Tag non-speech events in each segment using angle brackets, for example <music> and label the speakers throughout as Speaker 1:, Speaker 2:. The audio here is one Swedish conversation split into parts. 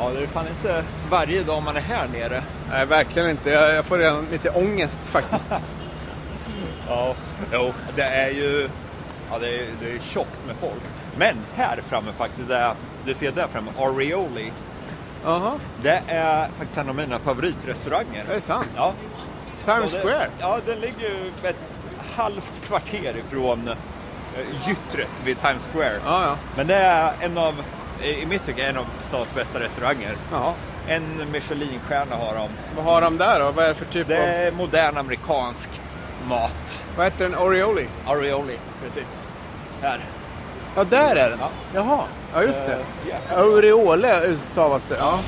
Speaker 1: Ja, det är fan inte varje dag man är här nere.
Speaker 2: Nej, verkligen inte. Jag, jag får redan lite
Speaker 1: <laughs>
Speaker 2: ångest faktiskt.
Speaker 1: Ja, jo, det är ju ja, det är, det är tjockt med folk. Men här framme faktiskt, där, du ser där framme, Arioli.
Speaker 2: Jaha,
Speaker 1: Det är faktiskt en av mina favoritrestauranger.
Speaker 2: är det sant?
Speaker 1: Ja.
Speaker 2: Times
Speaker 1: Ja, det-
Speaker 2: Square?
Speaker 1: Ja, den ligger ju ett halvt kvarter ifrån eh, gyttret vid Times Square.
Speaker 2: Ja, ja.
Speaker 1: Men det är en av, i mitt tycke, en av stans bästa restauranger.
Speaker 2: Jaha.
Speaker 1: En Michelinstjärna har de.
Speaker 2: Vad har de där då? Vad är det för typ
Speaker 1: Det
Speaker 2: av...
Speaker 1: är modern amerikansk mat.
Speaker 2: Vad heter den? Orioli?
Speaker 1: Arioli, precis. Här.
Speaker 2: Ja, där är den.
Speaker 1: Ja.
Speaker 2: Jaha, ja just det.
Speaker 1: Eh, ja.
Speaker 2: Aureole uttavas det. Ja.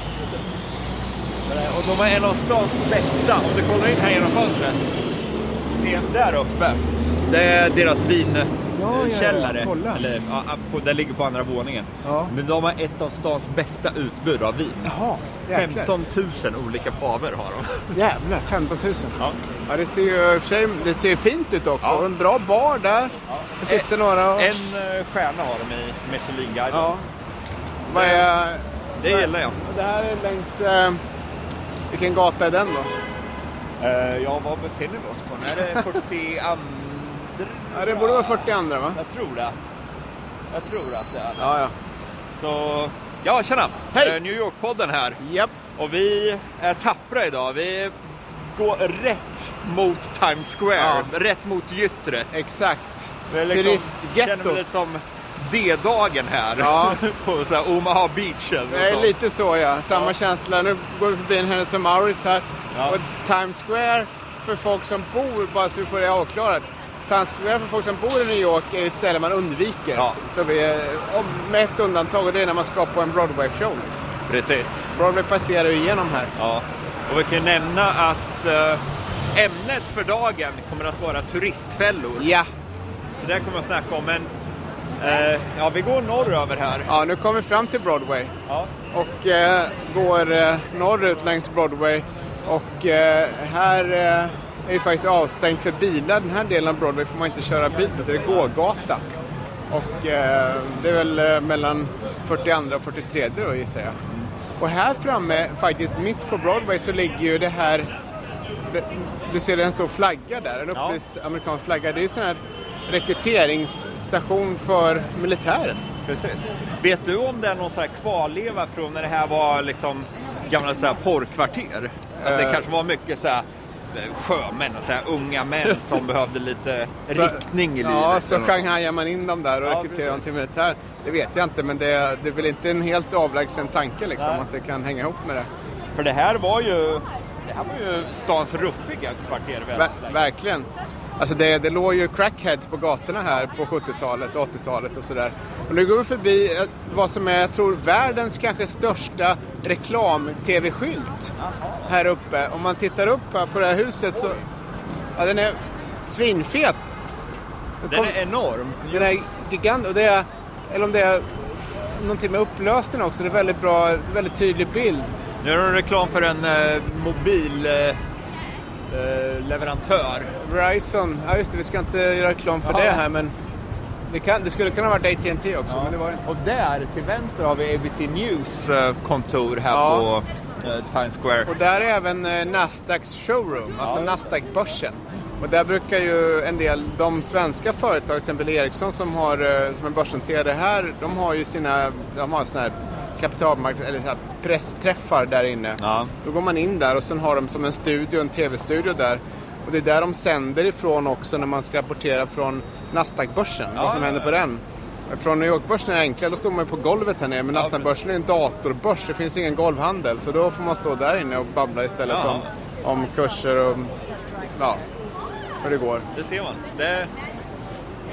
Speaker 1: Eh, Och de är en av stans bästa. Om du kollar in här genom fönstret. Se, där uppe. Det är deras
Speaker 2: ja, ja,
Speaker 1: vinkällare.
Speaker 2: kolla.
Speaker 1: Eller, ja, på- den ligger på andra våningen.
Speaker 2: Ja.
Speaker 1: Men de har ett av stans bästa utbud av vin.
Speaker 2: Jaha, jäklar.
Speaker 1: 15 000 olika paver har de.
Speaker 2: Jävlar, 15 000.
Speaker 1: Ja.
Speaker 2: Ja, det ser ju i och för sig det ser ju fint ut också.
Speaker 1: Ja.
Speaker 2: En bra bar där. Det sitter några och...
Speaker 1: En eh, stjärna har de i Michelinguiden.
Speaker 2: Ja. Vad är...
Speaker 1: Det gillar jag.
Speaker 2: Det här är längs... Eh... Vilken gata är den då?
Speaker 1: Eh, Ja, vad befinner vi oss på? Nu är det 42?
Speaker 2: Ja, det borde vara 42 va?
Speaker 1: Jag tror det. Jag tror att det är det.
Speaker 2: Ja, ja.
Speaker 1: Så, ja tjena!
Speaker 2: Hej!
Speaker 1: Eh, New York-podden här.
Speaker 2: Japp.
Speaker 1: Och vi är tappra idag. Vi går rätt mot Times Square.
Speaker 2: Ja.
Speaker 1: Rätt mot gyttret.
Speaker 2: Exakt.
Speaker 1: Vi är liksom- Känner mig
Speaker 2: Turistgettot.
Speaker 1: lite som D-dagen här.
Speaker 2: Ja.
Speaker 1: <laughs> på så här Omaha Beach eller något
Speaker 2: Det är
Speaker 1: sånt.
Speaker 2: lite så ja, samma
Speaker 1: Ja.
Speaker 2: känsla. Nu går vi förbi en Hennes och Mauritz här.
Speaker 1: Ja.
Speaker 2: Och Times Square för folk som bor, bara så vi får det avklarat. Times Square för folk som bor i New York är ett ställe man undviker.
Speaker 1: Ja.
Speaker 2: Så vi, eh, om- med ett undantag och det är när man ska på en Broadway-show. Liksom.
Speaker 1: Precis.
Speaker 2: Broadway passerar ju igenom här.
Speaker 1: Ja. Och vi kan nämna att eh, ämnet för dagen kommer att vara turistfällor.
Speaker 2: Ja,
Speaker 1: Så det kommer jag snacka om. Men eh, ja, vi går norröver här.
Speaker 2: ja nu kommer vi fram till Broadway.
Speaker 1: Ja.
Speaker 2: och eh, går eh, norrut längs Broadway. Och eh, här eh, är ju faktiskt avstängt för bilar. Den här delen av Broadway får man inte köra bil på, så det är gågata. Och eh, det är väl eh, mellan 42 och 43 då gissar jag. Och här framme, faktiskt mitt på Broadway, så ligger ju det här... Det, du ser det är en stor flagga där, en
Speaker 1: Ja.
Speaker 2: upplyst amerikansk flagga. Det är ju sån här rekryteringsstation för militären.
Speaker 1: Precis. Vet du om det är någon så här kvarleva från när det här var liksom gamla så här porrkvarter? Att det
Speaker 2: Eh.
Speaker 1: kanske var mycket så här eh, sjömän och så här unga män som behövde lite riktning i livet.
Speaker 2: Ja, så
Speaker 1: eller något sånt.
Speaker 2: shanghajar man in dem där och
Speaker 1: Ja,
Speaker 2: rekryterar dem till
Speaker 1: precis.
Speaker 2: militär. Det vet jag inte, men det, det är väl inte en helt avlägsen tanke liksom,
Speaker 1: Nej.
Speaker 2: att det kan hänga ihop med det.
Speaker 1: För det här var ju, det här var ju stans ruffiga kvarter. väldigt
Speaker 2: Ver
Speaker 1: länge.
Speaker 2: verkligen. Alltså det, det låg ju crackheads på gatorna här på 70-talet, 80-talet och sådär. Och nu går vi förbi eh, vad som är, jag tror, världens kanske största reklam-tv-skylt här uppe. Om man tittar upp här på det här huset så... Ja, den är svinfet.
Speaker 1: Den är enorm.
Speaker 2: Den är gigant och det är, eller om det är någonting med upplösningen också, det är väldigt bra, väldigt tydlig bild.
Speaker 1: Nu är det reklam för en eh, mobil eh, eh, leverantör.
Speaker 2: Verizon, ja just det, vi ska inte göra reklam för
Speaker 1: Ja.
Speaker 2: det här men det, kan, det skulle kunna ha varit AT&T också, men det var det inte.
Speaker 1: Och där till vänster har vi ABC News eh, kontor här
Speaker 2: Ja.
Speaker 1: på eh, Times Square.
Speaker 2: Och där är även eh, Nasdaqs showroom, alltså
Speaker 1: Ja.
Speaker 2: Nasdaq-börsen. Och där brukar ju en del, de svenska företag, till exempel Ericsson som, har, eh, som är börsnoterade här, de har ju sina, de har såna här kapitalmarknads eller så här pressträffar där inne.
Speaker 1: Ja.
Speaker 2: Då går man in där och sen har de som en studio, en tv-studio där. Och det är där de sänder ifrån också när man ska rapportera från Nasdaq-börsen,
Speaker 1: Ja,
Speaker 2: vad som
Speaker 1: ja,
Speaker 2: händer på
Speaker 1: ja.
Speaker 2: den. Från New York-börsen är det enklare, då står man ju på golvet här nere. Men
Speaker 1: Ja,
Speaker 2: Nasdaq-börsen är en datorbörs, det finns ju ingen golvhandel. Så då får man stå där inne och babbla istället
Speaker 1: Ja.
Speaker 2: om, om kurser och ja, hur det går.
Speaker 1: Det ser man. Det,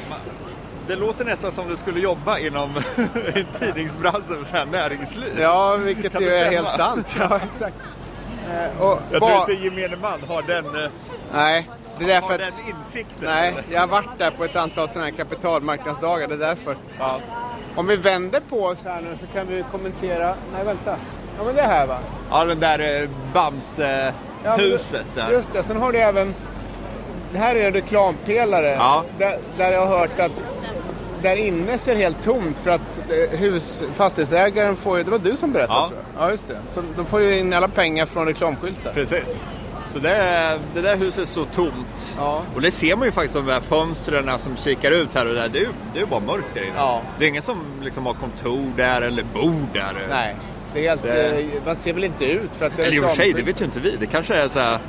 Speaker 1: ma- det låter nästan som du skulle jobba inom <laughs> i tidningsbranschen, så här näringsliv.
Speaker 2: Ja, vilket
Speaker 1: Kan
Speaker 2: ju är
Speaker 1: bestämma.
Speaker 2: helt sant. Ja, exakt. Eh, Och,
Speaker 1: Jag
Speaker 2: ba-
Speaker 1: tror inte gemene man har den, eh,
Speaker 2: Nej, det är därför
Speaker 1: har
Speaker 2: att...
Speaker 1: den insikten.
Speaker 2: Nej,
Speaker 1: eller?
Speaker 2: jag har varit där på ett antal sådana här kapitalmarknadsdagar, det är därför.
Speaker 1: Ja.
Speaker 2: Om vi vänder på oss här nu så kan vi kommentera... Nej, vänta. Ja, men det här va?
Speaker 1: Ja, den där eh,
Speaker 2: Ja, men
Speaker 1: Bamse-huset
Speaker 2: det-
Speaker 1: där.
Speaker 2: Just det, sen har du även... Det här är en reklampelare
Speaker 1: Ja.
Speaker 2: där, där jag har hört att där inne ser helt tomt för att eh, hus, fastighetsägaren får ju, det var du som berättade
Speaker 1: Ja.
Speaker 2: tror jag. Ja, just det. Så de får ju in alla pengar från reklamskyltar.
Speaker 1: Precis. Så det, det där huset står tomt.
Speaker 2: Ja.
Speaker 1: Och det ser man ju faktiskt av de där fönstren som kikar ut här och där. Det är ju, det är ju bara mörkt där inne.
Speaker 2: Ja.
Speaker 1: Det är ingen som liksom har kontor där eller bor där.
Speaker 2: Nej, det är helt,
Speaker 1: Det-
Speaker 2: eh, man ser väl inte ut för att det är
Speaker 1: Eller i och för sig, det
Speaker 2: reklamskylt.
Speaker 1: vet ju inte vi. Det kanske är så här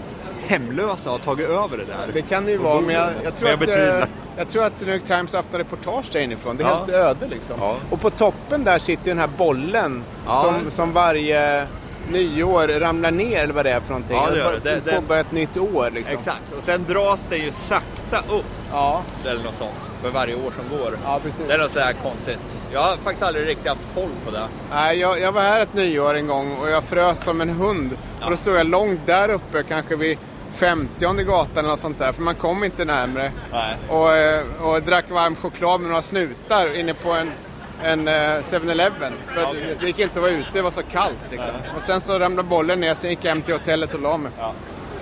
Speaker 1: hemlösa har tagit över det där.
Speaker 2: Det kan det ju
Speaker 1: Och
Speaker 2: vara,
Speaker 1: bor
Speaker 2: men jag,
Speaker 1: där.
Speaker 2: jag, tror
Speaker 1: Men jag
Speaker 2: att,
Speaker 1: betvivlar.
Speaker 2: eh, jag tror att New York Times har haft en reportage där inifrån. Det är
Speaker 1: Ja.
Speaker 2: helt öde liksom.
Speaker 1: Ja.
Speaker 2: Och på toppen där sitter ju den här bollen
Speaker 1: Ja,
Speaker 2: som,
Speaker 1: just det.
Speaker 2: som varje nyår ramlar ner eller vad det är för någonting.
Speaker 1: Ja, det gör det.
Speaker 2: Bara-
Speaker 1: Det- det-
Speaker 2: Påbörjar ett nytt år liksom.
Speaker 1: Exakt, och sen dras det ju sakta upp
Speaker 2: Ja,
Speaker 1: eller något sånt för varje år som går.
Speaker 2: ja precis.
Speaker 1: Det är något så här konstigt. Jag har faktiskt aldrig riktigt haft koll på det.
Speaker 2: Nej, jag, jag var här ett nyår en gång och jag frös som en hund. Och då stod jag långt där uppe, kanske vid 50 gatan eller något sånt där, för man kom inte närmre.
Speaker 1: Nej.
Speaker 2: Och, eh, och drack varm choklad med några snutar inne på en, en eh, 7-Eleven. För att
Speaker 1: Okej.
Speaker 2: det gick inte att vara ute, det var så kallt liksom. Och sen så ramlade bollen ner, sen gick jag hem till hotellet och la mig.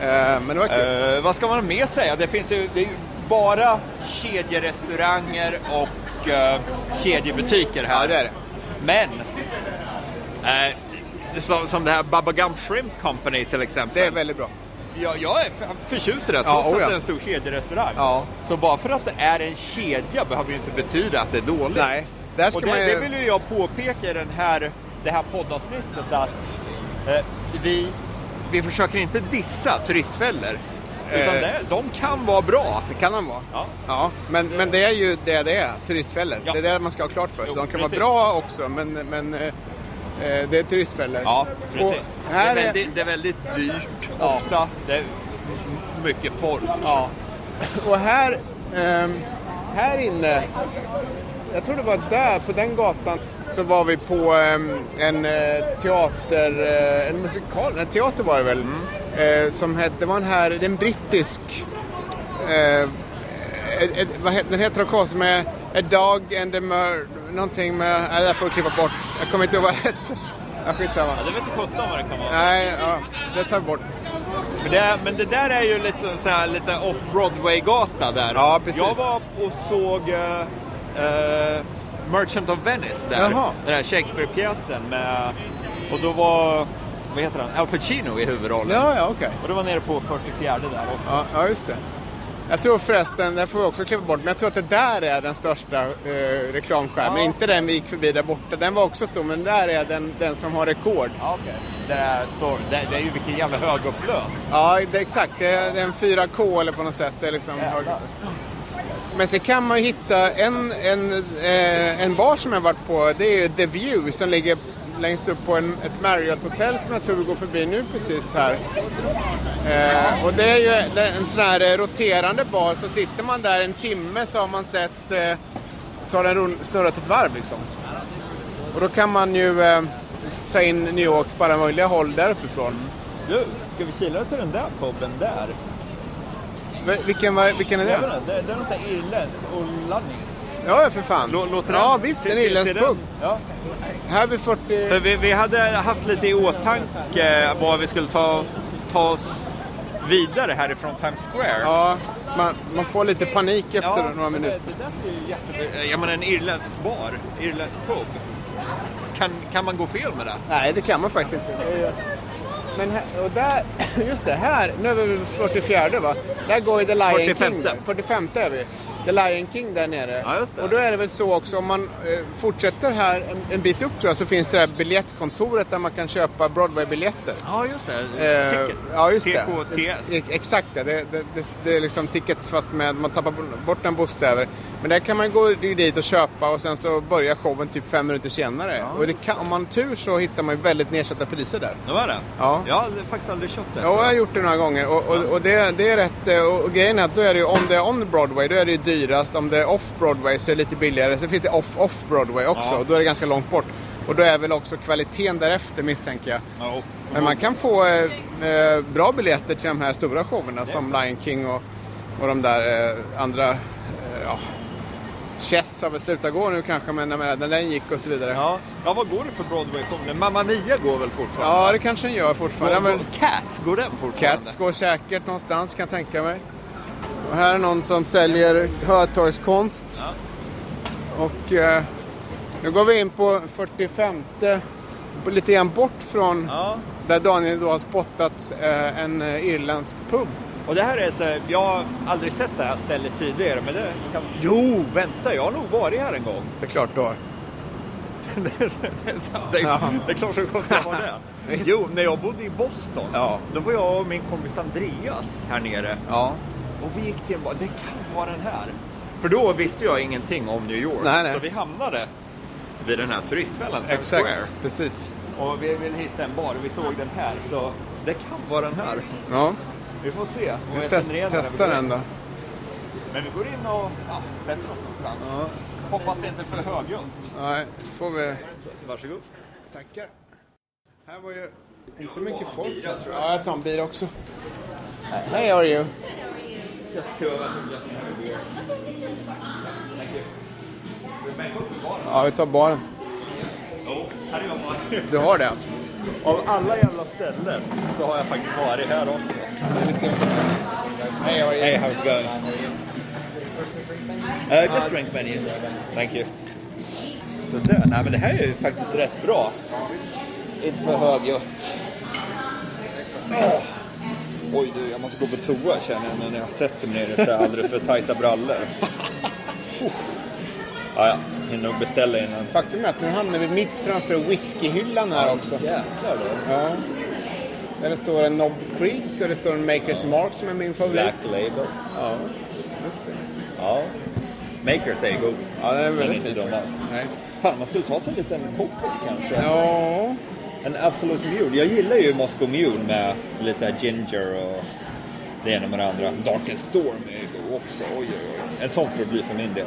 Speaker 2: Eh, men det var kul.
Speaker 1: Eh, vad ska man ha med sig? Det finns ju, det är ju bara kedjerestauranger och eh, kedjebutiker här.
Speaker 2: Ja, det är det.
Speaker 1: Men, eh, som, som det här Baba Gum Shrimp Company till exempel.
Speaker 2: det är väldigt bra.
Speaker 1: jag, jag är förtjust i det,
Speaker 2: Ja,
Speaker 1: trots
Speaker 2: oh
Speaker 1: att
Speaker 2: ja.
Speaker 1: det är en stor kedjerestaurang.
Speaker 2: Ja.
Speaker 1: Så bara för att det är en kedja behöver ju inte betyda att det är dåligt.
Speaker 2: Nej, där ska
Speaker 1: Och det,
Speaker 2: man ju-
Speaker 1: det vill ju jag påpeka i den här, det här poddavsnittet att eh, vi, vi försöker inte dissa turistfällor. Utan
Speaker 2: Eh.
Speaker 1: det, de kan vara bra.
Speaker 2: Det kan de vara.
Speaker 1: Ja.
Speaker 2: men, men det är ju det det är, turistfällor.
Speaker 1: Ja.
Speaker 2: Det är det man ska ha klart för sig.
Speaker 1: Jo,
Speaker 2: De kan
Speaker 1: precis.
Speaker 2: vara bra också, men, men eh, eh, det är turistfällor.
Speaker 1: Ja,
Speaker 2: Och
Speaker 1: precis. Det
Speaker 2: här
Speaker 1: är,
Speaker 2: är-
Speaker 1: väldigt, det är väldigt dyrt
Speaker 2: Ja.
Speaker 1: ofta. Det är mycket folk.
Speaker 2: Ja. Och här, ehm, här inne, jag tror det var där, på den gatan, så var vi på ehm, en eh, teater, eh, en musikal, en teater var det väl, eh, som hette, det var en här, det är en brittisk, eh, ett, ett, vad heter, den heter något konstigt med A Dog and a Murder, någonting med, nej det där får vi klippa bort, jag kommer inte ihåg vad det hette. Ja, skitsamma.
Speaker 1: Jag vet inte sjutton vad det kan vara.
Speaker 2: Nej, ja, det tar vi bort.
Speaker 1: Men det, men det där är ju liksom så här, lite off-Broadway-gata där.
Speaker 2: Ja, precis.
Speaker 1: Jag var och såg eh, eh, Merchant of Venice där.
Speaker 2: Jaha.
Speaker 1: Den här Shakespeare-pjäsen med... Och då var, vad heter han, Al Pacino i huvudrollen.
Speaker 2: Ja, ja, okej.
Speaker 1: Och det var nere på 44 där också.
Speaker 2: Ja, ja, just det. Jag tror förresten, den får vi också klippa bort, men jag tror att det där är den största eh, reklamskärmen.
Speaker 1: Ja.
Speaker 2: Inte den vi gick förbi där borta, den var också stor, men där är den, den som har rekord.
Speaker 1: Ja, okej. Det, där, står- det, det är ju vilken jävla högupplös.
Speaker 2: Ja, det, exakt. Det är, det är en 4K eller på något sätt. Det är liksom,
Speaker 1: Jävlar.
Speaker 2: men sen kan man ju hitta en, en, eh, en bar som jag varit på, det är ju The View som ligger längst upp på en, ett Marriott-hotell som jag tror vi går förbi nu precis här. Eh, och det är ju det är en sån här eh, roterande bar, så sitter man där en timme så har man sett, eh, så har den run- snurrat ett varv liksom. Och då kan man ju eh, ta in New York på alla möjliga håll där uppifrån.
Speaker 1: Du, ska vi kila till den där puben där?
Speaker 2: V- Vilken, var- vilken är det?
Speaker 1: Jag vet inte, Det, det är något så här irländskt, O'Lannys.
Speaker 2: Ja, ja, för fan.
Speaker 1: Lå- Låter den-
Speaker 2: ja, visst. En
Speaker 1: ser- ser
Speaker 2: irländsk
Speaker 1: den-
Speaker 2: pub.
Speaker 1: Ja.
Speaker 2: Här vid 40...
Speaker 1: För vi, vi hade haft lite i åtanke vad vi skulle ta, ta oss vidare härifrån Times Square.
Speaker 2: Ja, man, man får lite panik efter några
Speaker 1: men
Speaker 2: minuter.
Speaker 1: Det, det där är ju jättebra. Jag menar en irländsk bar, irländsk pub. Kan, kan man gå fel med det?
Speaker 2: Nej, det kan man faktiskt inte. Men här, och där, <laughs> just det, här, nu är vi vid 44 va? Där går ju The Lion
Speaker 1: 45.
Speaker 2: King. där. 45 är vi. The Lion King där nere.
Speaker 1: Ja, just det.
Speaker 2: Och då är det väl så också, om man eh, fortsätter här en, en bit upp tror jag, så finns det här biljettkontoret där man kan köpa Broadway-biljetter.
Speaker 1: Ja, just det.
Speaker 2: Eh,
Speaker 1: Ticket.
Speaker 2: ja, just det.
Speaker 1: TKTS.
Speaker 2: E- Exakt, det, det, det, det är liksom tickets fast med man tappar bort den bokstäver. Men där kan man gå dit och köpa och sen så börjar showen typ fem minuter senare. och det kan, om man har tur så hittar man ju väldigt nedsatta priser där.
Speaker 1: Det var det?
Speaker 2: Ja.
Speaker 1: Jag har aldrig- faktiskt aldrig köpt det.
Speaker 2: Ja, jag har gjort det några gånger och, och, och det, det är rätt. eh, Och, och grejen är att då är det ju, om det är on Broadway då är det ju dyrast. Om det är off Broadway så är det lite billigare. Sen finns det off off Broadway också
Speaker 1: Ja.
Speaker 2: och då är det ganska långt bort. Och då är väl också kvaliteten därefter misstänker jag.
Speaker 1: Ja, och-
Speaker 2: Men man kan få eh, eh, bra biljetter till de här stora showerna som Lion King och, och de där eh, andra eh, ja, Chess har väl slutat gå nu kanske, men jag menar, när den gick och så vidare. Ja,
Speaker 1: Ja. ja, vad går det för Broadway-kommande? Mamma Mia går väl fortfarande?
Speaker 2: det kanske den gör fortfarande.
Speaker 1: Går-
Speaker 2: Men
Speaker 1: går- Cats, går den fortfarande?
Speaker 2: Cats går säkert någonstans kan jag tänka mig. Och här är någon som säljer Hötorgskonst. Och eh, nu går vi in på 45, på- lite grann bort från
Speaker 1: Ja.
Speaker 2: där Daniel då har spottat eh, en eh, irländsk pub.
Speaker 1: Och det här är så här, jag har aldrig sett det här stället tidigare, men det kan... Jo, vänta, jag har nog varit här en gång. <laughs>
Speaker 2: Det är klart du har.
Speaker 1: det, är sant. det,
Speaker 2: Ja.
Speaker 1: det är klart som sjutton
Speaker 2: <laughs>
Speaker 1: var det.
Speaker 2: Visst.
Speaker 1: Jo, när jag bodde i Boston,
Speaker 2: Ja.
Speaker 1: då var jag och min kompis Andreas här nere.
Speaker 2: Ja.
Speaker 1: Och vi gick till en bar, det kan vara den här. För då visste jag ingenting om New York,
Speaker 2: Nej, nej.
Speaker 1: så vi hamnade vid den här turistfällan, Times
Speaker 2: Exakt,
Speaker 1: Square.
Speaker 2: precis.
Speaker 1: Och vi ville hitta en bar, vi såg den här, så det kan vara den här.
Speaker 2: Ja.
Speaker 1: Vi får se. om
Speaker 2: Vi
Speaker 1: jag
Speaker 2: test,
Speaker 1: känner igen när vi
Speaker 2: testar
Speaker 1: går in.
Speaker 2: den då.
Speaker 1: Men vi går in och ja, sätter oss någonstans.
Speaker 2: Ja.
Speaker 1: Hoppas det inte är för högljutt.
Speaker 2: Nej, får vi...
Speaker 1: Varsågod.
Speaker 2: Tackar. Här var ju inte mycket folk. Ja, jag tar en bira också. Hey, how are you?
Speaker 1: Just two of us are just gonna have a beer. Thank you. We're back up to baren.
Speaker 2: Ja, vi tar baren.
Speaker 1: Jo, här är jag bara.
Speaker 2: Du har det alltså?
Speaker 1: Av alla jävla ställen så har jag faktiskt varit här också.
Speaker 2: Hey, how are you?
Speaker 1: Hey, how's it going? Uh, just drink menus. Thank you. Så där, nej men det här är ju faktiskt rätt bra. Inte för högljutt. Åh. Oj du, jag måste gå på toa känner jag nu när jag sätter mig ner i så här alldeles för tajta
Speaker 2: <laughs>
Speaker 1: brallor. Oh. Ja, ja, hinner nog beställa innan.
Speaker 2: Faktum är att nu hamnar vi mitt framför whiskyhyllan här också.
Speaker 1: Jävlar du.
Speaker 2: Ja. Där det står en Knob Creek och det står en Makers Mark som är min favorit.
Speaker 1: Black label.
Speaker 2: Ja, just det.
Speaker 1: Ja. Makers är god.
Speaker 2: Ja, den är
Speaker 1: Men
Speaker 2: väldigt
Speaker 1: inte
Speaker 2: fin.
Speaker 1: dum alls.
Speaker 2: faktiskt. Nej.
Speaker 1: Fan, man skulle ta sig en liten cocktail kanske.
Speaker 2: Ja.
Speaker 1: En Absolut Mule. Jag gillar ju Moscow Mule med lite så här ginger och det ena med det andra. Darken Storm är ju god också. Oj, oj, oj. En sån får det bli för min del.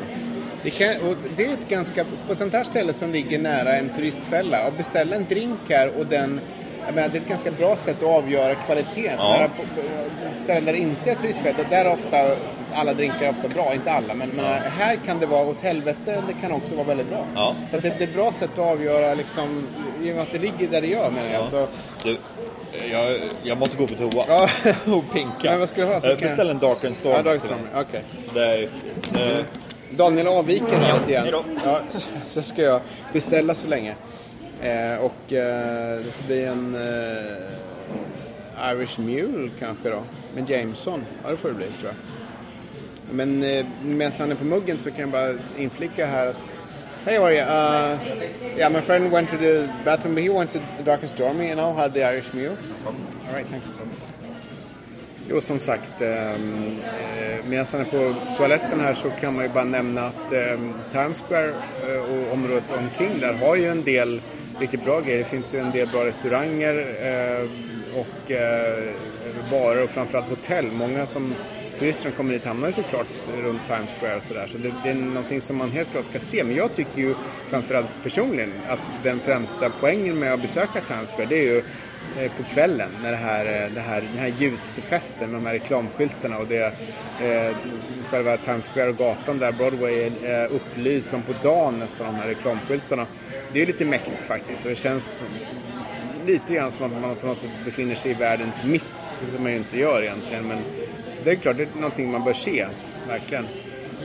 Speaker 2: Det, kan, och det är ett ganska, på ett sånt här ställe som ligger nära en turistfälla, att beställa en drink här och den, jag menar, det är ett ganska bra sätt att avgöra kvaliteten.
Speaker 1: Ja.
Speaker 2: När, på, på ställen där det inte är turistfälla, där är ofta, alla drinkar är ofta bra, inte alla, men, men här kan det vara åt helvete, det kan också vara väldigt bra.
Speaker 1: Ja.
Speaker 2: Så att det, det är ett bra sätt att avgöra, liksom, i och med att det ligger där det gör menar jag. Så,
Speaker 1: Du, Alltså, jag, jag måste gå på toa.
Speaker 2: Ja.
Speaker 1: <laughs> och pinka.
Speaker 2: Men vad ska du ha? Så
Speaker 1: Eh,
Speaker 2: kan jag-
Speaker 1: Beställ en Darken Storm.
Speaker 2: ja,
Speaker 1: till
Speaker 2: Dagström,
Speaker 1: mig.
Speaker 2: okej.
Speaker 1: Det är, eh,
Speaker 2: Daniel avviker här lite
Speaker 1: hejdå.
Speaker 2: igen. Ja, så- så ska jag beställa så länge. Eh, och eh, det får bli en eh, Irish Mule kanske då. Med Jameson. Ja, det får det bli tror jag. Men eh, medan han är på muggen så kan jag bara inflicka här att Hey, how are you? Uh, yeah, my friend went to the bathroom, but he went to Dark and Stormy and I'll have the Irish Mule. All right, thanks. Jo, som sagt, ehm, eh, medan han är på toaletten här så kan man ju bara nämna att ehm, Times Square eh, och området omkring där har ju en del riktigt bra grejer. Det finns ju en del bra restauranger eh, och eh, barer och framförallt hotell. Många som turister som kommer hit hamnar ju såklart runt Times Square och sådär. Så det, det är någonting som man helt klart ska se. Men jag tycker ju framförallt personligen att den främsta poängen med att besöka Times Square det är ju eh, på kvällen när det här, eh, det här, den här ljusfesten med de här reklamskyltarna och det, eh, själva Times Square och gatan där, Broadway, är eh, upplyst som på dagen nästan de här reklamskyltarna. Det är lite mäktigt faktiskt och det känns lite grann som att man på något sätt befinner sig i världens mitt, som man ju inte gör egentligen. Men det är klart, det är någonting man bör se, verkligen.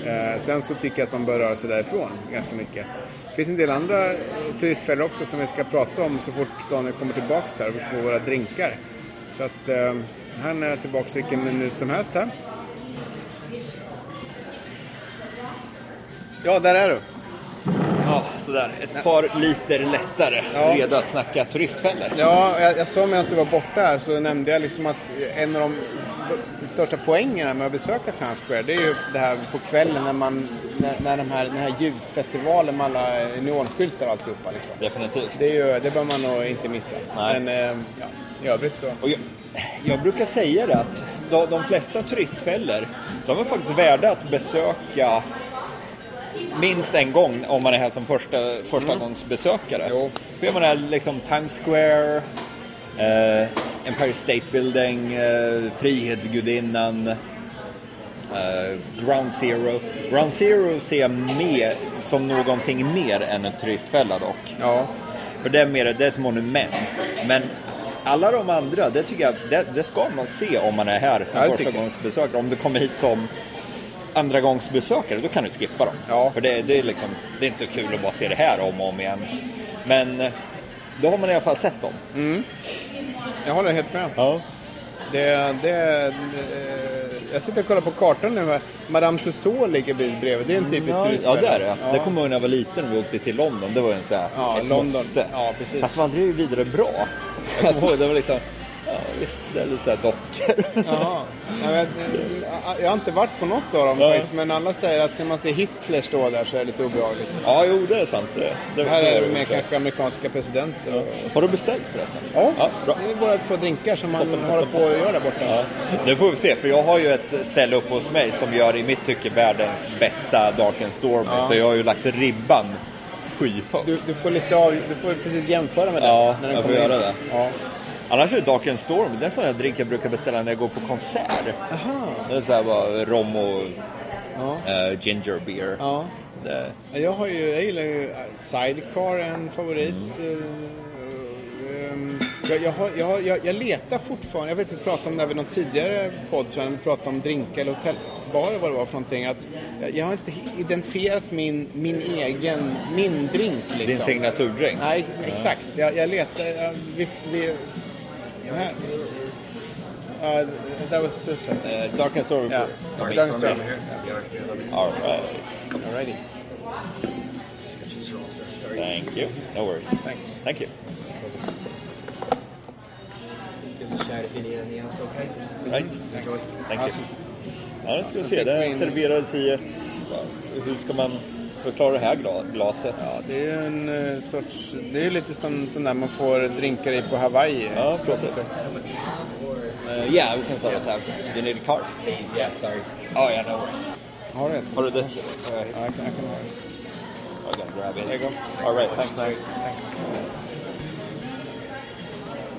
Speaker 2: Eh, sen så tycker jag att man bör röra sig därifrån ganska mycket. Det finns en del andra eh, turistfällor också som vi ska prata om så fort Daniel kommer tillbaks här och vi får våra drinkar. Så att eh, han är tillbaks vilken minut som helst här. Ja, där är du.
Speaker 1: ja, sådär. Ett par liter lättare.
Speaker 2: Ja.
Speaker 1: Redo att snacka turistfällor.
Speaker 2: Ja, jag, jag sa medan du var borta här så nämnde jag liksom att en av de b- största poängerna med att besöka Times Square det är ju det här på kvällen när man, när, när de här, den här ljusfestivalen med alla neonskyltar och alltihopa liksom.
Speaker 1: Definitivt.
Speaker 2: Det, är ju, det bör man nog inte missa.
Speaker 1: Nej.
Speaker 2: Men eh, ja, i övrigt så.
Speaker 1: Och jag, jag brukar säga det att de, de flesta turistfällor, de är faktiskt värda att besöka minst en gång om man är här som första, första gångs besökare.
Speaker 2: Jo.
Speaker 1: För jag menar, liksom Times Square, eh, Empire State Building, eh, Frihetsgudinnan. eh, Ground Zero. Ground Zero ser jag mer som någonting mer än en turistfälla dock.
Speaker 2: Ja.
Speaker 1: För det är mer det är ett monument. Men alla de andra, det tycker jag, det, det ska man se om man är här som
Speaker 2: Ja, det tycker
Speaker 1: första
Speaker 2: jag.
Speaker 1: gångs besökare. Om du kommer hit som andra gångs besökare, då kan du skippa dem.
Speaker 2: Ja.
Speaker 1: För det, det, är liksom, det är inte så kul att bara se det här om och om igen. Men eh, då har man i alla fall sett dem.
Speaker 2: Jag håller helt med.
Speaker 1: Ja.
Speaker 2: Det, det, eh, jag sitter och kollar på kartan nu. här. Madame Tussauds ligger bil bredvid. Det är en typisk
Speaker 1: Ja, ja,
Speaker 2: turistfälla.
Speaker 1: det är det. Det kommer jag ihåg när jag var liten och vi åkte till London. Det var ju en så här,
Speaker 2: Ja,
Speaker 1: ett
Speaker 2: London.
Speaker 1: måste.
Speaker 2: Ja, precis.
Speaker 1: Fast det var aldrig vidare bra.
Speaker 2: <laughs>
Speaker 1: Alltså, det var liksom, ja visst, det är lite så här dockor.
Speaker 2: Jaha. Jag, vet, eh, jag har inte varit på något av dem
Speaker 1: Nej.
Speaker 2: faktiskt, men alla säger att när man ser Hitler stå där så är det lite obehagligt.
Speaker 1: Ja, jo, det är sant. Det, det,
Speaker 2: Här är
Speaker 1: det
Speaker 2: det
Speaker 1: ju
Speaker 2: med
Speaker 1: inte.
Speaker 2: kanske amerikanska presidenter. och-
Speaker 1: Har du beställt förresten?
Speaker 2: Ja,
Speaker 1: bra.
Speaker 2: det är våra två drinkar som han
Speaker 1: Toppen,
Speaker 2: håller på
Speaker 1: toppen.
Speaker 2: att göra där borta.
Speaker 1: Ja, det får vi se, för jag har ju ett ställe uppe hos mig som gör i mitt tycke världens bästa Dark and Stormy.
Speaker 2: Ja.
Speaker 1: Så jag har ju lagt ribban skyhögt.
Speaker 2: Du, du får lite av, du får precis jämföra med den.
Speaker 1: Ja,
Speaker 2: när den
Speaker 1: jag får
Speaker 2: kommer in.
Speaker 1: göra det.
Speaker 2: Ja.
Speaker 1: Annars är Dark and Storm, det är en sån här drink jag brukar beställa när jag går på konsert. Det är så här bara rom och eh, ginger beer.
Speaker 2: Ja.
Speaker 1: Det,
Speaker 2: Jag, har ju, jag gillar ju eh, Sidecar, en favorit. Eh, ehm, Jag, jag, har, jag, har- jag, jag letar fortfarande, jag vet inte, vi pratade om det här vid någon tidigare podd tror jag, när vi pratade om drinkar eller hotellbarer vad det var för någonting. Att jag, jag har inte identifierat min, min egen, min drink liksom.
Speaker 1: din signaturdrink.
Speaker 2: Nej, exakt. Jag, jag letar, jag, vi, vi, här. Ja, that was suicide.
Speaker 1: Eh, Dark and Storm.
Speaker 2: Ja.
Speaker 1: Dark
Speaker 2: Dark
Speaker 1: and Storm.
Speaker 2: and Storm.
Speaker 1: All right.
Speaker 2: Alrighty.
Speaker 1: Thank you. No worries.
Speaker 2: Thanks.
Speaker 1: Thank you.
Speaker 3: Just give us a shout if you need anything else, okay?
Speaker 1: Right.
Speaker 3: Enjoy.
Speaker 1: Thank you.
Speaker 2: Awesome.
Speaker 1: Ja, nu ska vi se. Den serverades i ett... Hur ska man förklara det här gla- glaset?
Speaker 2: Det är en eh, sorts, det är lite som sån där man får drinkar i på Hawaii.
Speaker 1: Ja, precis. Uh, yeah, we can start at that. You need a card? Please, yeah, sorry. Oh yeah, no worries.
Speaker 2: Har du ett?
Speaker 1: Har du det?
Speaker 2: Ja, jag kan, jag kan ha det.
Speaker 1: I can grab it.
Speaker 2: There you go.
Speaker 1: All right, thanks.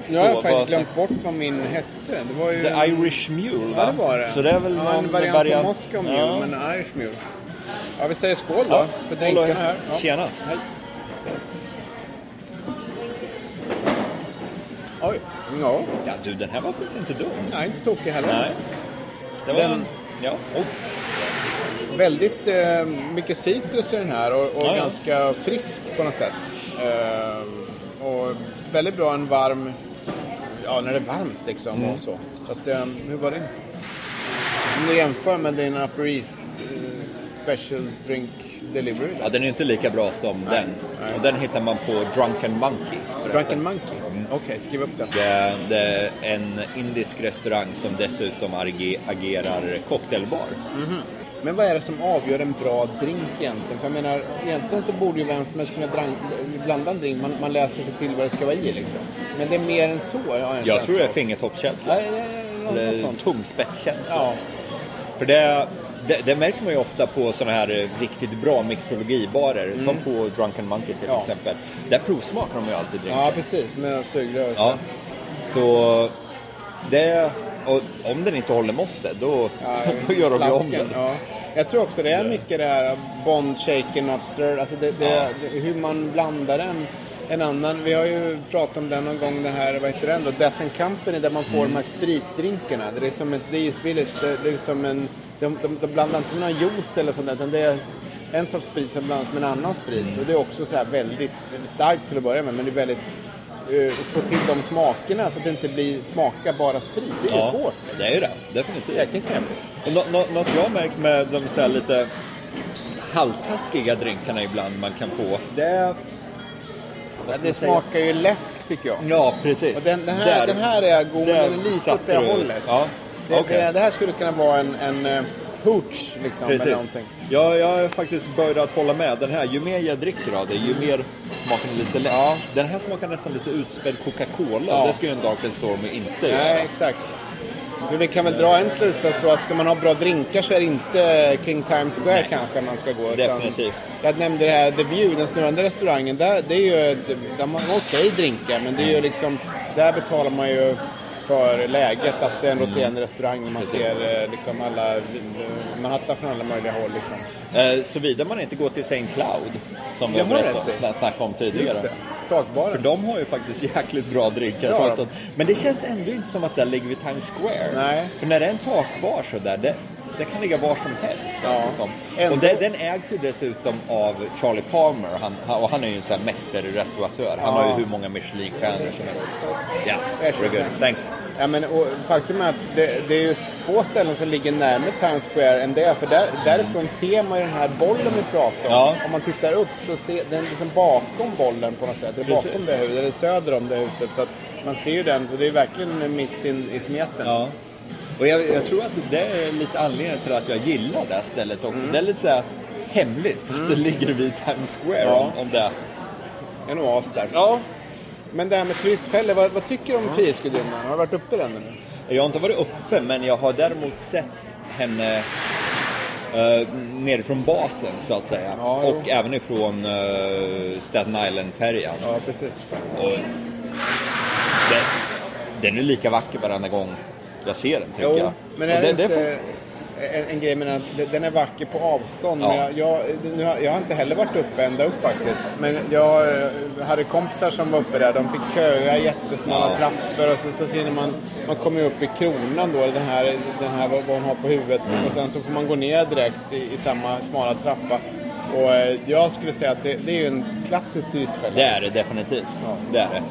Speaker 2: Nu har
Speaker 1: Så,
Speaker 2: jag
Speaker 1: vad-
Speaker 2: faktiskt glömt bort vad min hette. Det var ju...
Speaker 1: The Irish Mule, va?
Speaker 2: Ja, det var det.
Speaker 1: Så det är väl
Speaker 2: ja,
Speaker 1: någon
Speaker 2: en variant
Speaker 1: variant-
Speaker 2: på Moscow Mule,
Speaker 1: Ja.
Speaker 2: men Irish Mule. Ja, vi säger skål då.
Speaker 1: Ja,
Speaker 2: för
Speaker 1: skål
Speaker 2: drinkarna
Speaker 1: och-
Speaker 2: här. Ja.
Speaker 1: Tjena.
Speaker 2: Hej. Oj. Ja,
Speaker 1: Ja, du, den här var faktiskt inte dum.
Speaker 2: nej, inte tokig heller.
Speaker 1: Nej. Det var...
Speaker 2: Den-
Speaker 1: Ja. Oh.
Speaker 2: Väldigt eh, mycket citrus i den här och, och
Speaker 1: Ja, ja.
Speaker 2: ganska frisk på något sätt. Eh, och väldigt bra en varm, ja när det är varmt liksom
Speaker 1: Mm.
Speaker 2: och så. så att, eh, hur var det? Om du jämför med din Upper East eh, Special Drink Delivery
Speaker 1: ja,
Speaker 2: där.
Speaker 1: den är inte lika bra som den.
Speaker 2: Nej.
Speaker 1: Och den hittar man på Drunken Monkey. förresten.
Speaker 2: Drunken Monkey?
Speaker 1: Mm.
Speaker 2: Okej, skriv upp den.
Speaker 1: Det, det är en indisk restaurang som dessutom ag- agerar cocktailbar.
Speaker 2: Mm. Men vad är det som avgör en bra drink egentligen? För jag menar, egentligen så borde ju vem som helst kunna drank, blanda en drink. Man, man läser sig till vad det ska vara i liksom. Men det är mer än så har jag
Speaker 1: Jag
Speaker 2: en
Speaker 1: tror det
Speaker 2: känsla
Speaker 1: är
Speaker 2: av.
Speaker 1: fingertoppskänsla.
Speaker 2: Ja, ja, ja, något, något
Speaker 1: Eller
Speaker 2: sånt.
Speaker 1: tungspetskänsla.
Speaker 2: Ja.
Speaker 1: För det, det, det märker man ju ofta på sådana här eh, riktigt bra mixologibarer, som på Drunken Monkey till
Speaker 2: Mm. Ja.
Speaker 1: exempel. Där provsmakar de ju alltid drinken.
Speaker 2: ja, precis. Med sugrör.
Speaker 1: Ja. Så det, och om den inte håller måttet då,
Speaker 2: Ja,
Speaker 1: <laughs> då gör de ju om
Speaker 2: slasken,
Speaker 1: den.
Speaker 2: ja. Jag tror också det är mycket det här Bond, shaker, not stir. Alltså det, det,
Speaker 1: Ja.
Speaker 2: det, hur man blandar den. En annan, vi har ju pratat om den någon gång, det här, vad heter den då? Death and Company där man får de här
Speaker 1: Mm.
Speaker 2: spritdrinkarna. Det är som ett Dees Village, det, det är som en... De, de, de blandar inte med någon juice eller sånt där, utan det är en sorts sprit som blandas med en annan sprit.
Speaker 1: Mm.
Speaker 2: Och det är också så här väldigt starkt till att börja med, men det är väldigt... eh, få till de smakerna så att det inte blir smaka bara sprit. Det är ju
Speaker 1: Ja,
Speaker 2: svårt.
Speaker 1: det är ju det. Definitivt.
Speaker 2: Jäkligt knepigt.
Speaker 1: Och nå- nå- något jag har märkt med de så här lite halvtaskiga drinkarna ibland man kan få, det är... vad ska
Speaker 2: Ja,
Speaker 1: man
Speaker 2: det
Speaker 1: säga?
Speaker 2: smakar ju läsk tycker jag.
Speaker 1: Ja, precis.
Speaker 2: Och den, den, här, den här är god,
Speaker 1: där
Speaker 2: men den är lite åt
Speaker 1: satte
Speaker 2: det
Speaker 1: du-
Speaker 2: hållet.
Speaker 1: Ja,
Speaker 2: Det,
Speaker 1: okej.
Speaker 2: det, det här skulle kunna vara en, en eh, hooch liksom. Eller
Speaker 1: Precis.
Speaker 2: någonting.
Speaker 1: Jag, jag har faktiskt börjat hålla med. Den här, ju mer jag dricker av det, ju mer smakar den lite lätt.
Speaker 2: Ja.
Speaker 1: Den här smakar nästan lite utspädd Coca-Cola.
Speaker 2: Ja.
Speaker 1: Det ska ju en Dark and Stormy inte göra.
Speaker 2: Nej, exakt. Men vi kan väl dra en slutsats då att ska man ha bra drinkar så är det inte King Times Square
Speaker 1: Nej.
Speaker 2: kanske man ska gå.
Speaker 1: Definitivt.
Speaker 2: jag nämnde det här The View, den snurrande restaurangen. Där, det är ju, där man har okej drinkar men det är ju liksom, där betalar man ju för läget att det ändå är en restaurang där man ser eh, liksom alla vin- eh, Manhattan från alla möjliga håll. Liksom.
Speaker 1: Eh, Såvida man inte går till St. Cloud, som
Speaker 2: Det
Speaker 1: vi
Speaker 2: har du
Speaker 1: berättade
Speaker 2: rätt i.
Speaker 1: om- snackade om
Speaker 2: Just
Speaker 1: tidigare.
Speaker 2: det. Takbaren.
Speaker 1: För de har ju faktiskt jäkligt bra drinkar.
Speaker 2: Ja,
Speaker 1: trots
Speaker 2: de-
Speaker 1: att, men det känns ändå inte som att där ligger vid Times Square.
Speaker 2: Nej.
Speaker 1: För när det är en takbar så där, det, det kan ligga var som helst.
Speaker 2: Ja.
Speaker 1: känns det som.
Speaker 2: Ändå-
Speaker 1: Och det, den ägs ju dessutom av Charlie Palmer och han, han- och han är ju en sån här mästerrestauratör. Han har ju hur många Michelin-stjärnor som helst. Ja, very good. Thanks.
Speaker 2: Ja, men, och faktum är att det, det är ju få ställen som ligger närmare Times Square än det. För där, därifrån ser man ju den här bollen vi pratar om.
Speaker 1: Ja.
Speaker 2: Om man tittar upp så ser den liksom bakom bollen på något sätt. Eller
Speaker 1: Precis.
Speaker 2: bakom det huset, eller söder om det huset. Så att man ser ju den, så det är verkligen mitt in, i smeten.
Speaker 1: Ja. Och jag, jag tror att det är lite anledningen till att jag gillar det här stället också.
Speaker 2: Mm.
Speaker 1: Det är lite så här hemligt, fast det ligger vid Times Square
Speaker 2: Ja.
Speaker 1: om, om det.
Speaker 2: En oas där. Men det här med turistfällor, vad, vad tycker du om Frihetsgudinnan? Har du varit uppe i den eller?
Speaker 1: Jag har inte varit uppe, men jag har däremot sett henne eh, nerifrån basen, så att säga.
Speaker 2: Ja, jo.
Speaker 1: och även ifrån eh, Staten Island-färjan.
Speaker 2: Ja, precis.
Speaker 1: Och den, den är lika vacker varenda gång jag ser den, tycker jag.
Speaker 2: Jo, men är
Speaker 1: Och
Speaker 2: det,
Speaker 1: den- den
Speaker 2: inte
Speaker 1: är faktiskt-
Speaker 2: en, en grej med den, att den är vacker på avstånd.
Speaker 1: Ja.
Speaker 2: Men jag, jag, nu har, jag har inte heller varit uppe ända upp faktiskt. Men jag eh, hade kompisar som var uppe där. De fick köa jättesmala
Speaker 1: Ja.
Speaker 2: trappor och så, så hinner man, man kommer ju upp i kronan då, den här, den här vad, vad hon har på huvudet.
Speaker 1: Mm.
Speaker 2: Och sen så får man gå ner direkt i, i samma smala trappa. Och eh, jag skulle säga att det, det är ju en klassisk turistfälla.
Speaker 1: Det är det definitivt.
Speaker 2: Ja.
Speaker 1: Det är det.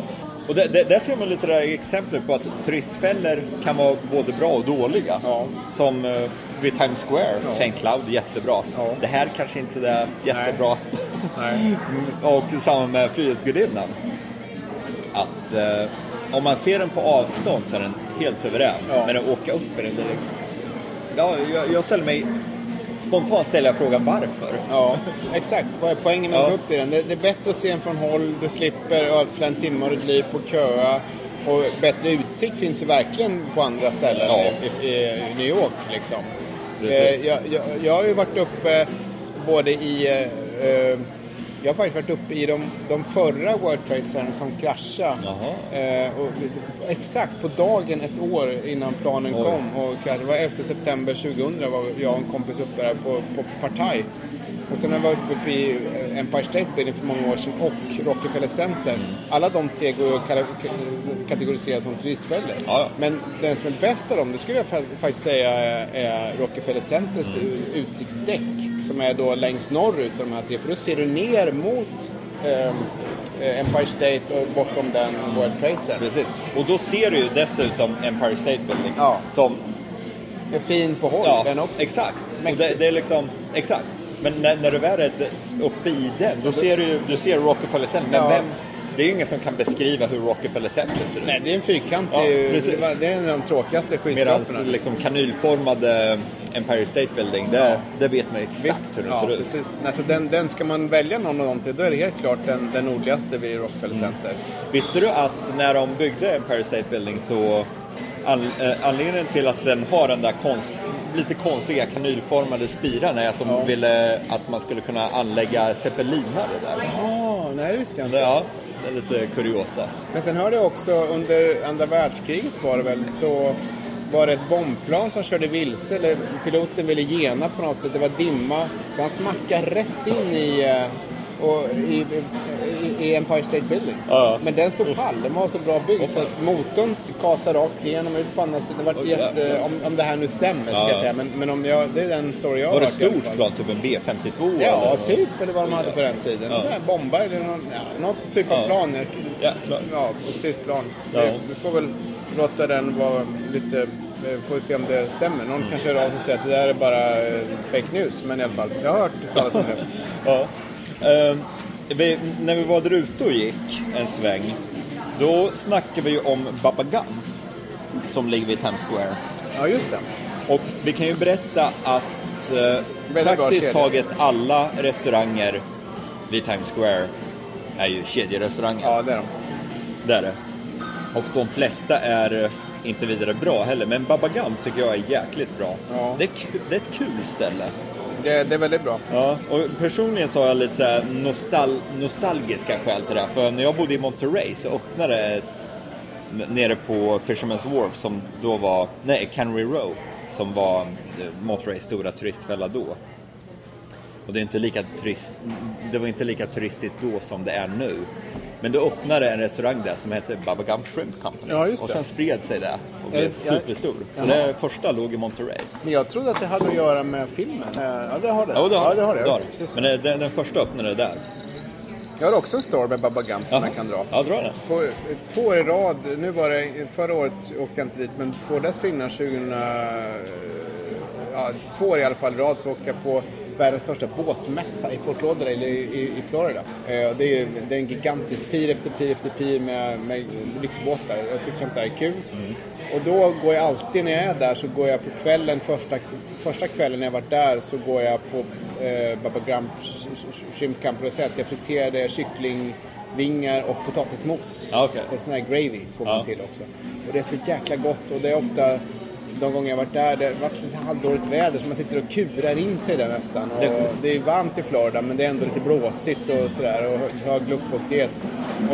Speaker 1: Och där, där, där ser man lite där exempel på att turistfällor kan vara både bra och dåliga.
Speaker 2: Ja.
Speaker 1: Som eh, vid Times Square,
Speaker 2: Ja.
Speaker 1: St. Cloud, jättebra.
Speaker 2: Ja.
Speaker 1: Det här kanske inte sådär jättebra. <laughs>
Speaker 2: Nej.
Speaker 1: och samma med Frihetsgudinnan. Att eh, om man ser den på avstånd så är den helt suverän.
Speaker 2: Ja.
Speaker 1: Men att åka upp är den direkt... Ja, jag, jag ställer mig... Spontant ställer jag frågan varför.
Speaker 2: Ja, exakt. Vad är poängen med att
Speaker 1: Ja.
Speaker 2: gå upp i den? Det, det är bättre att se den från håll, du slipper ödsla en timme av ditt liv på köa. Och bättre utsikt finns ju verkligen på andra ställen
Speaker 1: Ja.
Speaker 2: i, i, i New York. Liksom.
Speaker 1: Precis.
Speaker 2: Eh, Jag, jag, jag har ju varit uppe både i... eh, eh, Jag har faktiskt varit uppe i de, de förra World Trade Centers som kraschade.
Speaker 1: Jaha.
Speaker 2: Eh, och, exakt på dagen ett år innan planen
Speaker 1: Oj.
Speaker 2: kom. Och det var 11 september 2000 var jag och en kompis uppe där på, på Partaj. Och sen när jag var uppe i eh, Empire State Building för många år sedan och Rockefeller Center.
Speaker 1: Mm.
Speaker 2: Alla de tre går ju att kalla- k- kategorisera som turistfällor.
Speaker 1: Ja, ja.
Speaker 2: Men den som är bäst av dem, det skulle jag fa- faktiskt säga är- är Rockefeller Centers
Speaker 1: Mm.
Speaker 2: u- utsiktsdäck. Som är då längst norrut av de här tre. För då ser du ner mot ehm, eh, Empire State och bortom den World Trade Center.
Speaker 1: Precis. Och då ser du ju dessutom Empire State Building.
Speaker 2: Ja.
Speaker 1: Som,
Speaker 2: Det är fin på håll
Speaker 1: ja,
Speaker 2: den också.
Speaker 1: exakt. Och det,
Speaker 2: Mäktigt.
Speaker 1: det är liksom, exakt. Men när, när du väl är d- uppe i den, då ser du ju du ser Rockefeller Center. Men
Speaker 2: Ja.
Speaker 1: vem, det är ju ingen som kan beskriva hur Rockefeller Center ser ut.
Speaker 2: Nej, det är en fyrkantig...
Speaker 1: Ja, precis.
Speaker 2: det var- det är en av de tråkigaste
Speaker 1: Medan
Speaker 2: skyskraporna.
Speaker 1: liksom kanylformade Empire State Building, det,
Speaker 2: Ja.
Speaker 1: det vet man ju exakt hur den
Speaker 2: ja,
Speaker 1: ser ut.
Speaker 2: precis. Nej, så den, den ska man välja någon av dem till, då är det helt klart den, den nordligaste vid Rockefeller
Speaker 1: Mm.
Speaker 2: Center.
Speaker 1: Visste du att när de byggde Empire State Building så an, eh, anledningen till att den har den där konst, lite konstiga kanylformade spiran är att de
Speaker 2: Ja.
Speaker 1: ville att man skulle kunna anlägga zeppelinare där.
Speaker 2: Ah, nej, det visste jag inte.
Speaker 1: Ja, det är lite kuriosa.
Speaker 2: Men sen hörde jag också under andra världskriget var det väl så var det ett bombplan som körde vilse eller piloten ville gena på något sätt. Det var dimma så han smackade rätt in i, eh, och, i, i, i Empire State Building.
Speaker 1: Ja.
Speaker 2: Men den stod pall. Den var så bra byggd så att motorn kasade rakt igenom ut på andra sidan. Det var
Speaker 1: Oj,
Speaker 2: jätte,
Speaker 1: jävlar.
Speaker 2: om, om det här nu stämmer ska
Speaker 1: Ja.
Speaker 2: jag säga. Men, men om jag, det är den story jag har
Speaker 1: Var det
Speaker 2: hört i alla
Speaker 1: stort
Speaker 2: fall.
Speaker 1: plan, typ en B52?
Speaker 2: Ja,
Speaker 1: eller?
Speaker 2: typ. Eller vad de hade på den tiden.
Speaker 1: Ja.
Speaker 2: Så här, bombar eller någon, ja, något typ av
Speaker 1: Ja.
Speaker 2: plan.
Speaker 1: Jäklar.
Speaker 2: Ja, på stridsplan.
Speaker 1: Ja.
Speaker 2: Vi, vi får väl låta den vara lite... Vi får se om det stämmer.
Speaker 1: Mm.
Speaker 2: Någon kanske hör av sig och säger att det där är bara eh, fake news. Men i alla fall, jag har hört talas om det.
Speaker 1: Ja. Ehm, vi, när vi var där ute och gick en sväng, då snackade vi ju om Baba Gum, som ligger vid Times Square.
Speaker 2: Ja, just det.
Speaker 1: Och vi kan ju berätta att eh,
Speaker 2: Väldigt bra
Speaker 1: praktiskt
Speaker 2: kedja.
Speaker 1: taget alla restauranger vid Times Square är ju kedjerestauranger.
Speaker 2: Ja, det är de.
Speaker 1: Det är det. Och de flesta är eh, inte vidare bra heller, men Baba Gum tycker jag är jäkligt bra.
Speaker 2: Ja.
Speaker 1: Det, är ku- det är ett kul ställe.
Speaker 2: Det, det är väldigt bra.
Speaker 1: Ja, och personligen så har jag lite så här nostal nostalgiska skäl till det här. För när jag bodde i Monterey så öppnade ett n- nere på Fisherman's Wharf som då var, nej, Canary Row som var eh, Montreys stora turistfälla då. Och det, är inte lika turist, det var inte lika turistigt då som det är nu. Men då öppnade en restaurang där som hette Baba Gump Shrimp Company.
Speaker 2: Ja, just
Speaker 1: och
Speaker 2: det.
Speaker 1: sen spred sig det och blev
Speaker 2: Eh, ja.
Speaker 1: superstor. Så det första låg i Monterey.
Speaker 2: Men jag trodde att det hade att göra med filmen. Eh, Ja, det har det.
Speaker 1: Ja, det har
Speaker 2: ja, det. Har det.
Speaker 1: har
Speaker 2: Just,
Speaker 1: det.
Speaker 2: precis.
Speaker 1: Men det, den, den första öppnade där.
Speaker 2: Jag har också en story med Baba Gump som jag kan dra.
Speaker 1: Ja, dra den.
Speaker 2: På, eh, två år i rad, nu var det, förra året åkte jag inte dit, men två år dessförinnan, 2000, eh, ja, två år i alla fall i rad, så åkte jag på världens största båtmässa i Fort Lauderdale i, i, i Florida. Eh, det, är, ju- det är en gigantisk pir efter pir efter pir med, med lyxbåtar. Jag tycker sånt där är kul. Och då går jag alltid när jag är där så går jag på kvällen, första, första kvällen när jag var där så går jag på eh, Baba Gump sh- sh- Shrimp Camp och säger att jag friterade kycklingvingar och potatismos.
Speaker 1: Ja, okej.
Speaker 2: Och sån här gravy får man
Speaker 1: Ja.
Speaker 2: till också. Och det är så jäkla gott och det är ofta de gånger jag varit där, det har varit lite halvdåligt väder så man sitter och kurar in sig där nästan. Och
Speaker 1: Det är schysst.
Speaker 2: det är varmt i Florida men det är ändå lite blåsigt och sådär och hög luftfuktighet.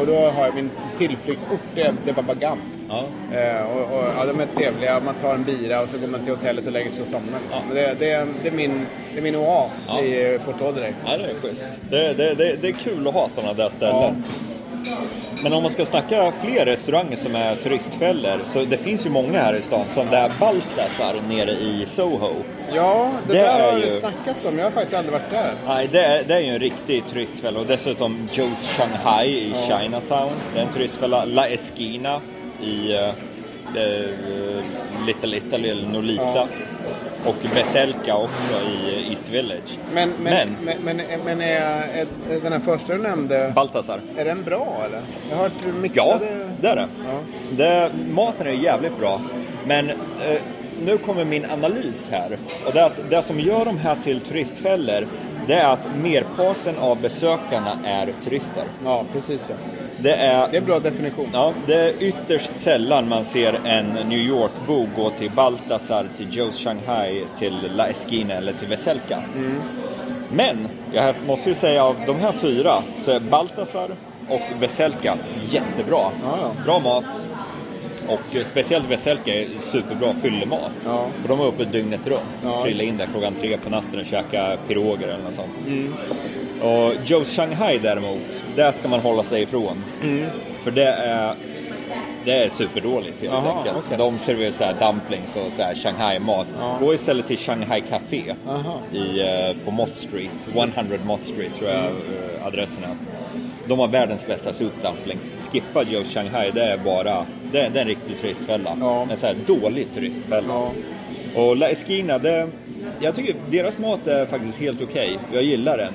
Speaker 2: Och då har jag min tillflyktsort, det är- det är Baba Gump.
Speaker 1: Ja.
Speaker 2: Eh, och, och, ja, de är trevliga, man tar en bira och så går man till hotellet och lägger sig och somnar. Liksom.
Speaker 1: Ja.
Speaker 2: Men Det, det, är, det, är min, det är min oas
Speaker 1: Ja.
Speaker 2: i eh, Fort Lauderdale.
Speaker 1: Ja, det är schysst. Det, det, det, det är kul att ha sådana där ställen. Men om man ska snacka fler restauranger som är turistfällor, så det finns ju många här i stan, som det här Baltasar nere i Soho.
Speaker 2: Ja, det,
Speaker 1: Det
Speaker 2: där
Speaker 1: är
Speaker 2: har det
Speaker 1: ju-
Speaker 2: snackats om. Jag har faktiskt aldrig varit där.
Speaker 1: Nej, det, är- det är ju en riktig turistfälla och dessutom Joe's Shanghai i Chinatown, det är en turistfälla. La Esquina i eh, eh, Little Italy, eller Nolita.
Speaker 2: Ja.
Speaker 1: Och Veselka också i East Village.
Speaker 2: Men, men,
Speaker 1: Men-
Speaker 2: men, men, men, är, är, är den här första du nämnde,
Speaker 1: Baltasar.
Speaker 2: är den bra eller? Jag har hört
Speaker 1: Ja,
Speaker 2: mixade...
Speaker 1: det är det.
Speaker 2: Ja.
Speaker 1: det. Maten är jävligt bra, men eh, nu kommer min analys här. Och det, är att det som gör de här till turistfällor, det är att merparten av besökarna är turister.
Speaker 2: Ja, precis ja.
Speaker 1: Det är,
Speaker 2: Det är en bra definition.
Speaker 1: ja, det är ytterst sällan man ser en New York-bo gå till Baltasar, till Joe's Shanghai, till La Esquina eller till Veselka.
Speaker 2: Mm.
Speaker 1: Men jag måste ju säga av de här fyra så är Baltasar och Veselka jättebra.
Speaker 2: Ja, ja.
Speaker 1: Bra mat. Och eh, speciellt Veselka är superbra fyllemat.
Speaker 2: Ja.
Speaker 1: För de är uppe dygnet runt.
Speaker 2: Ja,
Speaker 1: Trilla in där klockan tre på natten och käka piroger eller något sånt.
Speaker 2: Mm.
Speaker 1: Och Joe's Shanghai däremot, där ska man hålla sig ifrån.
Speaker 2: Mm.
Speaker 1: För det är, det är superdåligt helt
Speaker 2: Jaha,
Speaker 1: enkelt.
Speaker 2: okej.
Speaker 1: De serverar så här dumplings och så här Shanghai-mat.
Speaker 2: Ja.
Speaker 1: Gå istället till Shanghai Café
Speaker 2: Aha.
Speaker 1: i, eh, på Mott Street. 100 Mott Street tror jag eh, adressen är. De har världens bästa sopdumplings. Skippa Joe Shanghai, det är bara... Det är, det är en riktig turistfälla.
Speaker 2: Ja.
Speaker 1: En så här dålig turistfälla.
Speaker 2: Ja.
Speaker 1: Och La Esquina, det, jag tycker deras mat är faktiskt helt okej. Jag gillar den.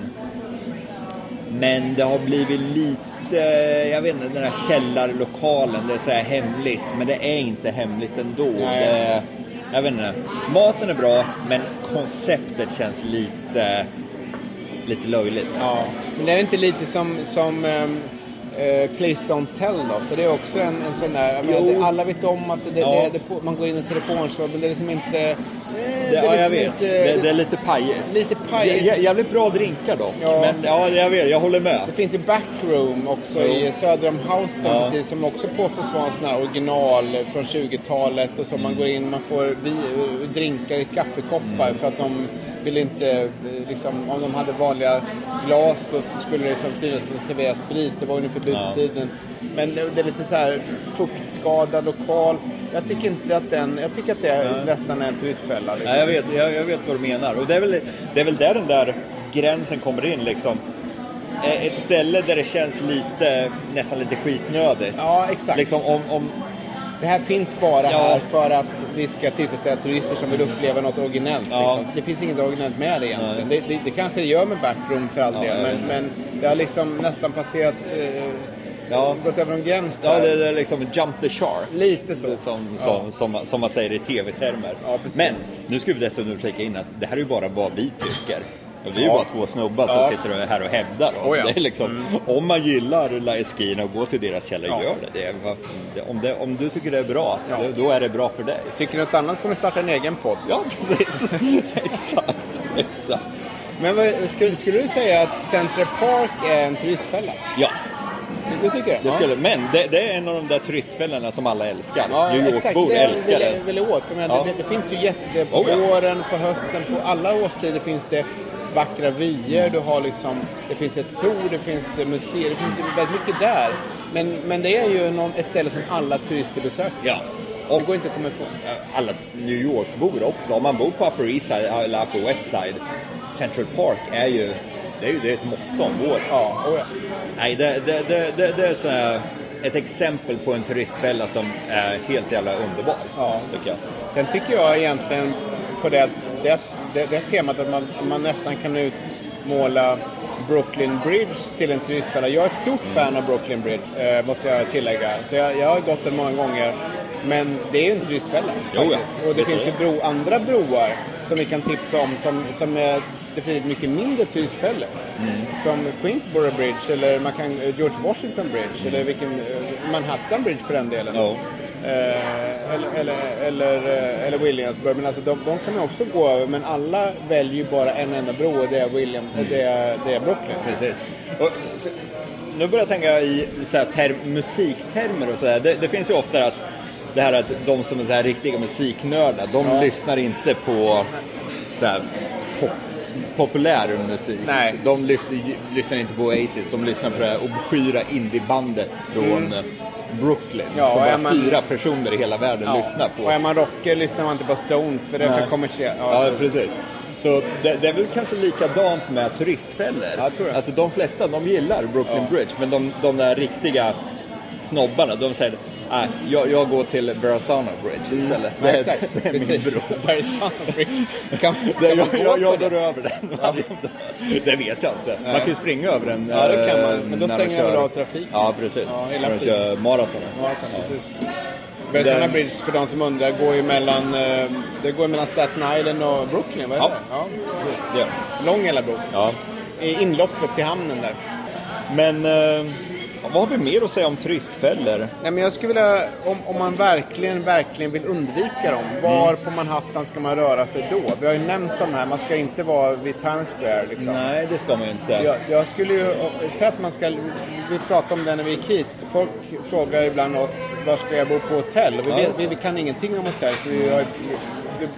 Speaker 1: Men det har blivit lite, jag vet inte, den här källarlokalen, det är så här hemligt. Men det är inte hemligt ändå.
Speaker 2: Nej.
Speaker 1: Det, jag vet inte. Maten är bra, men konceptet känns lite, lite löjligt.
Speaker 2: Ja. Men är det inte lite som, som ehm, eh, Please Don't Tell då? För det är också en, en sån där, jag menar,
Speaker 1: Jo.
Speaker 2: det, alla vet om att det, det,
Speaker 1: Ja.
Speaker 2: det, det, man går in i telefonshow men det är liksom inte... liksom Eh,
Speaker 1: Det, ja, jag vet.
Speaker 2: Lite,
Speaker 1: det, det är lite pajigt.
Speaker 2: lite pajigt.
Speaker 1: Jä- jä- Jävligt bra drinkar dock.
Speaker 2: Ja.
Speaker 1: Men ja, jag vet, jag håller med.
Speaker 2: Det finns ju Backroom också
Speaker 1: Jo.
Speaker 2: i söder om Houston
Speaker 1: Ja.
Speaker 2: precis som också påstås vara en sån här original från 20-talet och så
Speaker 1: Mm.
Speaker 2: man går in, man får vi, eh, drinkar i kaffekoppar för att de vill inte, eh, liksom, om de hade vanliga glas då skulle det som synas att de serverar sprit, det var under förbudstiden. Men det, det är lite så här fuktskadad lokal. Jag tycker inte att den, jag tycker att det är nästan är en turistfälla. Liksom.
Speaker 1: Ja, jag, vet, jag, jag vet vad du menar. Och det är, väl, det är väl där den där gränsen kommer in liksom. Eh, Ett ställe där det känns lite, nästan lite skitnödigt.
Speaker 2: Ja, exakt.
Speaker 1: Liksom om, om,
Speaker 2: Det här finns bara
Speaker 1: Ja.
Speaker 2: här för att vi ska tillfredsställa turister som vill uppleva något originellt.
Speaker 1: Ja.
Speaker 2: Liksom. Det finns inget originellt med det egentligen. Det, det, det kanske det gör med backroom för all
Speaker 1: Ja,
Speaker 2: del,
Speaker 1: jag
Speaker 2: men,
Speaker 1: vet
Speaker 2: men det har liksom nästan passerat... Eh,
Speaker 1: Ja.
Speaker 2: Gått över en gräns
Speaker 1: ja,
Speaker 2: där.
Speaker 1: det, det är liksom jump the shark.
Speaker 2: Lite så.
Speaker 1: Som,
Speaker 2: Ja.
Speaker 1: som, som, som man säger i tv-termer.
Speaker 2: Ja, precis.
Speaker 1: Men nu ska vi dessutom flika in att det här är ju bara vad vi tycker. Och vi är ju
Speaker 2: Ja.
Speaker 1: bara två snubbar
Speaker 2: Ja.
Speaker 1: som sitter här och hävdar oss.
Speaker 2: Oh, ja.
Speaker 1: det är liksom, Om man gillar La Esquina och går till deras källor,
Speaker 2: Ja.
Speaker 1: gör det. det. är- vad- det- Om, det, om du tycker det är bra,
Speaker 2: Ja.
Speaker 1: då- då är det bra för dig.
Speaker 2: Tycker ni något annat får ni starta en egen podd.
Speaker 1: Ja, precis. <laughs> exakt, exakt.
Speaker 2: Men vad, skulle, skulle du säga att Central Park är en turistfälla?
Speaker 1: Ja,
Speaker 2: Det, det tycker jag.
Speaker 1: Det
Speaker 2: Ja.
Speaker 1: skulle, men det, det är en av de där turistfällorna som alla älskar. New
Speaker 2: exakt.
Speaker 1: York-bor
Speaker 2: det är-
Speaker 1: älskar
Speaker 2: det. är
Speaker 1: det.
Speaker 2: väl åt. För jag menar,
Speaker 1: Ja.
Speaker 2: det, det finns ju jätte... På
Speaker 1: Oh, ja.
Speaker 2: våren, på hösten, på alla årstider finns det vackra vyer. Du har liksom, det finns ett zoo, det finns eh, museer, det finns ju väldigt mycket där. Men, men det är ju någon, ett ställe som alla turister besöker.
Speaker 1: Ja.
Speaker 2: Det
Speaker 1: Och
Speaker 2: går inte att komma ifrån.
Speaker 1: alla New York-bor också. Om man bor på Upper East Side eller Upper West Side, Central Park är ju, det är ju det är ett måste om våren.
Speaker 2: Ja, och ja.
Speaker 1: Nej, det, det, det, det, det är så här ett exempel på en turistfälla som är helt jävla underbar.
Speaker 2: Ja.
Speaker 1: Tycker jag.
Speaker 2: Sen tycker jag egentligen på det, det, det, det temat att man, att man nästan kan utmåla Brooklyn Bridge till en turistfälla. Jag är ett stort fan av Brooklyn Bridge, eh, måste jag tillägga. Så jag, jag har gått den många gånger. Men det är ju en turistfälla.
Speaker 1: Jo, ja.
Speaker 2: faktiskt. Och det,
Speaker 1: Det
Speaker 2: finns ju
Speaker 1: ser
Speaker 2: bro, andra broar som vi kan tipsa om som, som är definitivt mycket mindre turistfällor.
Speaker 1: Mm.
Speaker 2: Som Queensboro Bridge eller man kan, eh, George Washington Bridge eller vilken, eh, Manhattan Bridge för den delen.
Speaker 1: Ja.
Speaker 2: Eh, eller, eller, eller, eh, eller Williamsburg. Men alltså, de, de kan man också gå över. Men alla väljer ju bara en enda bro och det är, William,
Speaker 1: Mm.
Speaker 2: eh, det är, det är Brooklyn.
Speaker 1: Precis. Och, så, nu börjar jag tänka i så här, term, musiktermer och sådär. Det, det finns ju ofta att det här att de som är så här riktiga musiknördar, de lyssnar inte på så här, pop, populär musik.
Speaker 2: Nej.
Speaker 1: De lys, lyssnar inte på Oasis, de lyssnar på det här obskyra indiebandet från eh, Brooklyn
Speaker 2: Mm. Ja,
Speaker 1: som
Speaker 2: och är
Speaker 1: bara
Speaker 2: man-
Speaker 1: fyra personer i hela världen
Speaker 2: Ja.
Speaker 1: lyssnar på.
Speaker 2: Och är man rocker lyssnar man inte på Stones för det är för
Speaker 1: Nej.
Speaker 2: kommersiellt. alltså,
Speaker 1: Ja,
Speaker 2: så-
Speaker 1: precis. Så det, det är väl kanske likadant med turistfällor.
Speaker 2: Ja, jag tror det.
Speaker 1: Att de flesta, de gillar Brooklyn Bridge, men de, de där riktiga snobbarna, de säger "Nej, jag, jag går till Verrazano Bridge istället.
Speaker 2: Mm. Ja,
Speaker 1: är-
Speaker 2: exakt.
Speaker 1: <laughs> det är
Speaker 2: Precis.
Speaker 1: min bro.
Speaker 2: <laughs> Versailles. Kan,
Speaker 1: <laughs> Det,
Speaker 2: kan man
Speaker 1: jag,
Speaker 2: gå
Speaker 1: jag,
Speaker 2: på
Speaker 1: jag
Speaker 2: det?
Speaker 1: går över den. Det vet jag inte. Man
Speaker 2: Nej.
Speaker 1: kan ju springa över den.
Speaker 2: Ja, det kan
Speaker 1: eh,
Speaker 2: man. Men då
Speaker 1: när de
Speaker 2: stänger jag väl
Speaker 1: kör-
Speaker 2: av trafiken.
Speaker 1: Ja, precis.
Speaker 2: Ja, hela
Speaker 1: när de
Speaker 2: tiden.
Speaker 1: kör maraton.
Speaker 2: Ja, kan, precis. Versailles
Speaker 1: Den-
Speaker 2: Bridge, för de som undrar, går ju mellan, eh, det går mellan Staten Island och Brooklyn, vad är
Speaker 1: Ja.
Speaker 2: det? Ja, precis.
Speaker 1: Ja.
Speaker 2: Lång hela bro.
Speaker 1: Ja.
Speaker 2: I inloppet till hamnen där.
Speaker 1: Men eh, vad har vi mer att säga om turistfällor?
Speaker 2: Nej, men jag skulle vilja, om, om man verkligen, verkligen vill undvika dem, var på Manhattan ska man röra sig då? Vi har ju nämnt de här, man ska inte vara vid Times Square liksom.
Speaker 1: Nej, det ska man ju inte.
Speaker 2: Jag, jag skulle ju säga att man ska, vi pratade om det när vi gick hit. Folk frågar ibland oss, var ska jag bo på hotell? Och vi,
Speaker 1: Ja,
Speaker 2: vet,
Speaker 1: just det.
Speaker 2: vi, vi kan ingenting om hotell, för vi har, vi,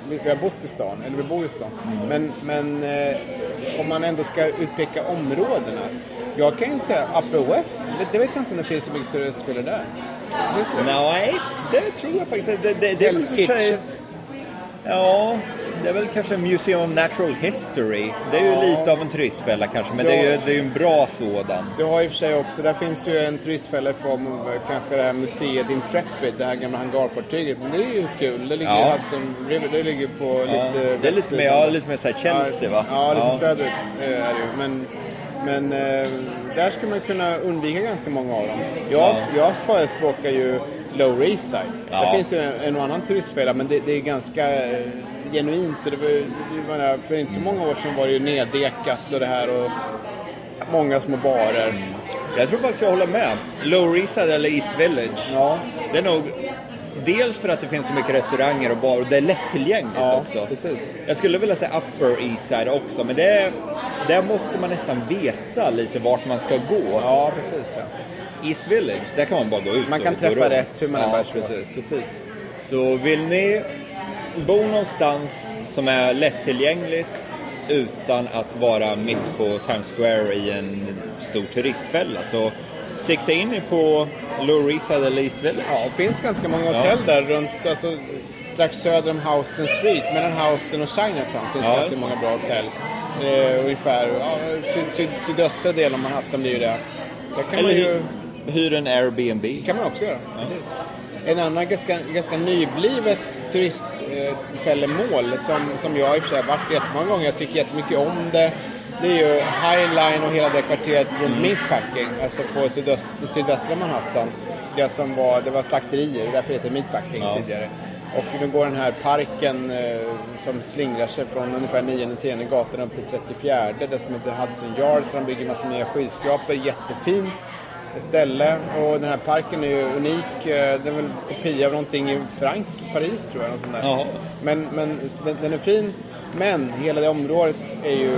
Speaker 2: vi, vi har bott i stan, eller vi bor i stan.
Speaker 1: Mm.
Speaker 2: Men, men eh, om man ändå ska utpeka områdena. Jag kan ju säga Upper West, det, det vet jag inte om det finns så mycket turistfällor där. Finns det?
Speaker 1: Nej, det tror jag faktiskt inte. Det, det, det är väl
Speaker 2: Hell's
Speaker 1: för sig,
Speaker 2: Kitchen.
Speaker 1: Ja, det är väl kanske Museum of Natural History. Det är ju
Speaker 2: Ja.
Speaker 1: lite av en turistfälla kanske, men
Speaker 2: Ja.
Speaker 1: det är ju det är ju en bra sådan.
Speaker 2: Du har i och för sig också, där finns ju en turistfälla i form av eh, kanske det här museet Intrepid, det här gamla hangarfartyget. Men det är ju kul, det ligger i
Speaker 1: Ja.
Speaker 2: Hudson River, det ligger på
Speaker 1: Ja.
Speaker 2: lite...
Speaker 1: Det är lite
Speaker 2: västsidan.
Speaker 1: mer, ja, lite mer så här Chelsea va?
Speaker 2: Ja, lite söderut eh, är det ju. Men, men eh, där skulle man kunna undvika ganska många av dem. Jag,
Speaker 1: Ja.
Speaker 2: jag förespråkar ju Lower East Side.
Speaker 1: Ja.
Speaker 2: Där finns ju en, en och annan turistfälla, men det, det är ganska eh, genuint. Det var, ju- det var, för inte så många år sedan var det ju neddekat och det här och många små barer.
Speaker 1: Jag tror faktiskt jag håller med. Lower East Side eller East Village.
Speaker 2: Ja.
Speaker 1: Det är nog dels för att det finns så mycket restauranger och bar och det är lättillgängligt
Speaker 2: Ja,
Speaker 1: också.
Speaker 2: precis.
Speaker 1: Jag skulle vilja säga Upper East Side också, men det, där måste man nästan veta lite vart man ska gå.
Speaker 2: Ja, precis. Ja.
Speaker 1: East Village, där kan man bara gå ut
Speaker 2: Man
Speaker 1: och
Speaker 2: kan
Speaker 1: gå
Speaker 2: träffa
Speaker 1: runt.
Speaker 2: rätt hur man
Speaker 1: ja,
Speaker 2: är
Speaker 1: precis.
Speaker 2: precis. precis.
Speaker 1: Så vill ni bo någonstans som är lättillgängligt utan att vara mitt på Times Square i en stor turistfälla så sikta in er på Lower East Side eller East Village.
Speaker 2: Ja, det finns ganska många hotell där runt, alltså, strax söder om Houston Street. Mellan Houston och Chinatown finns
Speaker 1: Ja,
Speaker 2: ganska
Speaker 1: just.
Speaker 2: många bra hotell. Eh, ungefär ja, syd, syd, sydöstra delen av Manhattan blir ju det. Där kan
Speaker 1: eller
Speaker 2: man
Speaker 1: hy-
Speaker 2: ju...
Speaker 1: hyr en Airbnb.
Speaker 2: kan man också göra. Precis. En annan ganska, ganska nyblivet turistfällemål som, som jag i och för sig har varit jättemånga gånger. Jag tycker jättemycket om det. Det är ju High Line och hela det kvarteret runt Meatpacking, alltså på sydöst, sydvästra Manhattan. Det, som var, det var slakterier, därför heter det Meatpacking
Speaker 1: Ja.
Speaker 2: tidigare. Och nu går den här parken eh, som slingrar sig från ungefär 9-10 gatan upp till 34, det som heter Hudson Yards, där de bygger massa nya skyskrapor, jättefint ställe. Och den här parken är ju unik, eh, den är väl en kopia av någonting i Frank, Paris tror jag. Något sånt där.
Speaker 1: Jaha.
Speaker 2: Men, men den- den är fin, men hela det området är ju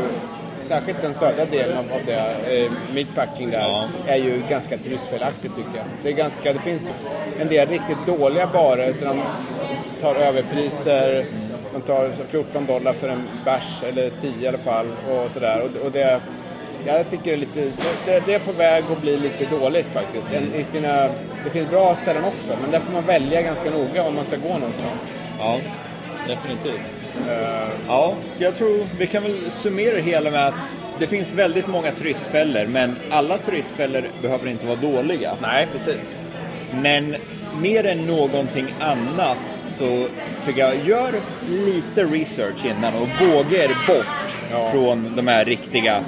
Speaker 2: särskilt den södra delen av, av det, eh, Meatpacking där,
Speaker 1: Ja.
Speaker 2: är ju ganska turistfelaktigt tycker jag. Det, är ganska, det finns en del riktigt dåliga barer där de tar överpriser. De tar 14 dollar för en bärs, eller 10 i alla fall, och sådär. Och, och det, jag tycker det är lite, det, det är på väg att bli lite dåligt faktiskt. En, i sina, det finns bra ställen också, men där får man välja ganska noga om man ska gå någonstans.
Speaker 1: Ja, definitivt. Ja, Eh, jag tror vi kan väl summera det hela med att det finns väldigt många turistfällor, men alla turistfällor behöver inte vara dåliga.
Speaker 2: Nej, precis.
Speaker 1: Men mer än någonting annat så tycker jag, gör lite research innan och våga er bort
Speaker 2: Ja.
Speaker 1: från de här riktiga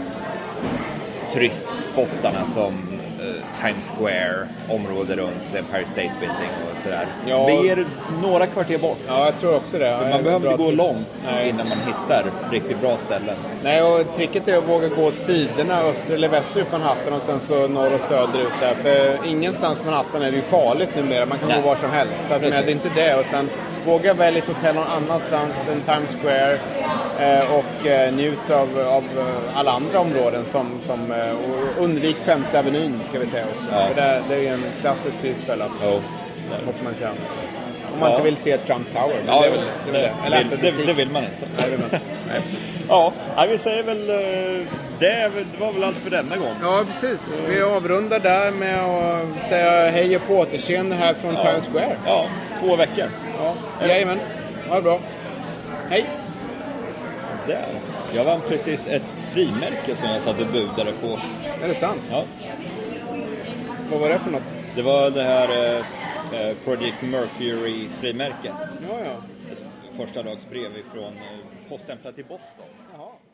Speaker 1: turistspottarna som eh, Times Square, området runt Empire State Building och sådär.
Speaker 2: Ja.
Speaker 1: Bege er några kvarter bort.
Speaker 2: Ja, jag tror också det.
Speaker 1: Man behöver
Speaker 2: Bra
Speaker 1: inte gå
Speaker 2: tips.
Speaker 1: långt
Speaker 2: Nej.
Speaker 1: innan man hittar riktigt bra ställen.
Speaker 2: Nej, och tricket är att våga gå åt sidorna, öster eller västerut på Manhattan och sen så norr och söderut där. För ingenstans på Manhattan är det ju farligt numera, man kan
Speaker 1: Nej.
Speaker 2: gå var som helst. Så att, men, det
Speaker 1: Precis.
Speaker 2: är inte det, utan våga välja ett hotell någon annanstans än Times Square eh, och eh, njut av, av eh, alla andra områden. Som, som, eh, och undvik Femte Avenyn ska vi säga också.
Speaker 1: Ja.
Speaker 2: För det, det är ju en klassisk turistfälla,
Speaker 1: Jo.
Speaker 2: måste man säga. Om man
Speaker 1: Ja.
Speaker 2: inte vill se Trump Tower, men
Speaker 1: Ja,
Speaker 2: det är väl det. Är väl
Speaker 1: det,
Speaker 2: det. Eller
Speaker 1: vill-
Speaker 2: Apple
Speaker 1: det,
Speaker 2: Boutique.
Speaker 1: det vill man inte.
Speaker 2: Nej, det vill man inte.
Speaker 1: Nej, precis. <laughs> Ja, nej, vi säger väl... eh, Det, är väl- det var väl allt för denna gång.
Speaker 2: Ja, precis. Vi avrundar där med att säga hej och på återseende här från Times Square.
Speaker 1: Ja, två veckor.
Speaker 2: Ja. Jajamän. Ha det bra. Hej.
Speaker 1: Där. Jag vann precis ett frimärke som jag satt och budade på.
Speaker 2: Är det sant?
Speaker 1: Ja,
Speaker 2: Vad var det för något?
Speaker 1: det var det här eh, eh, Project Mercury-frimärket.
Speaker 2: Ja, ja.
Speaker 1: Ett första dagsbrev ifrån eh, poststämplat i Boston.
Speaker 2: Jaha.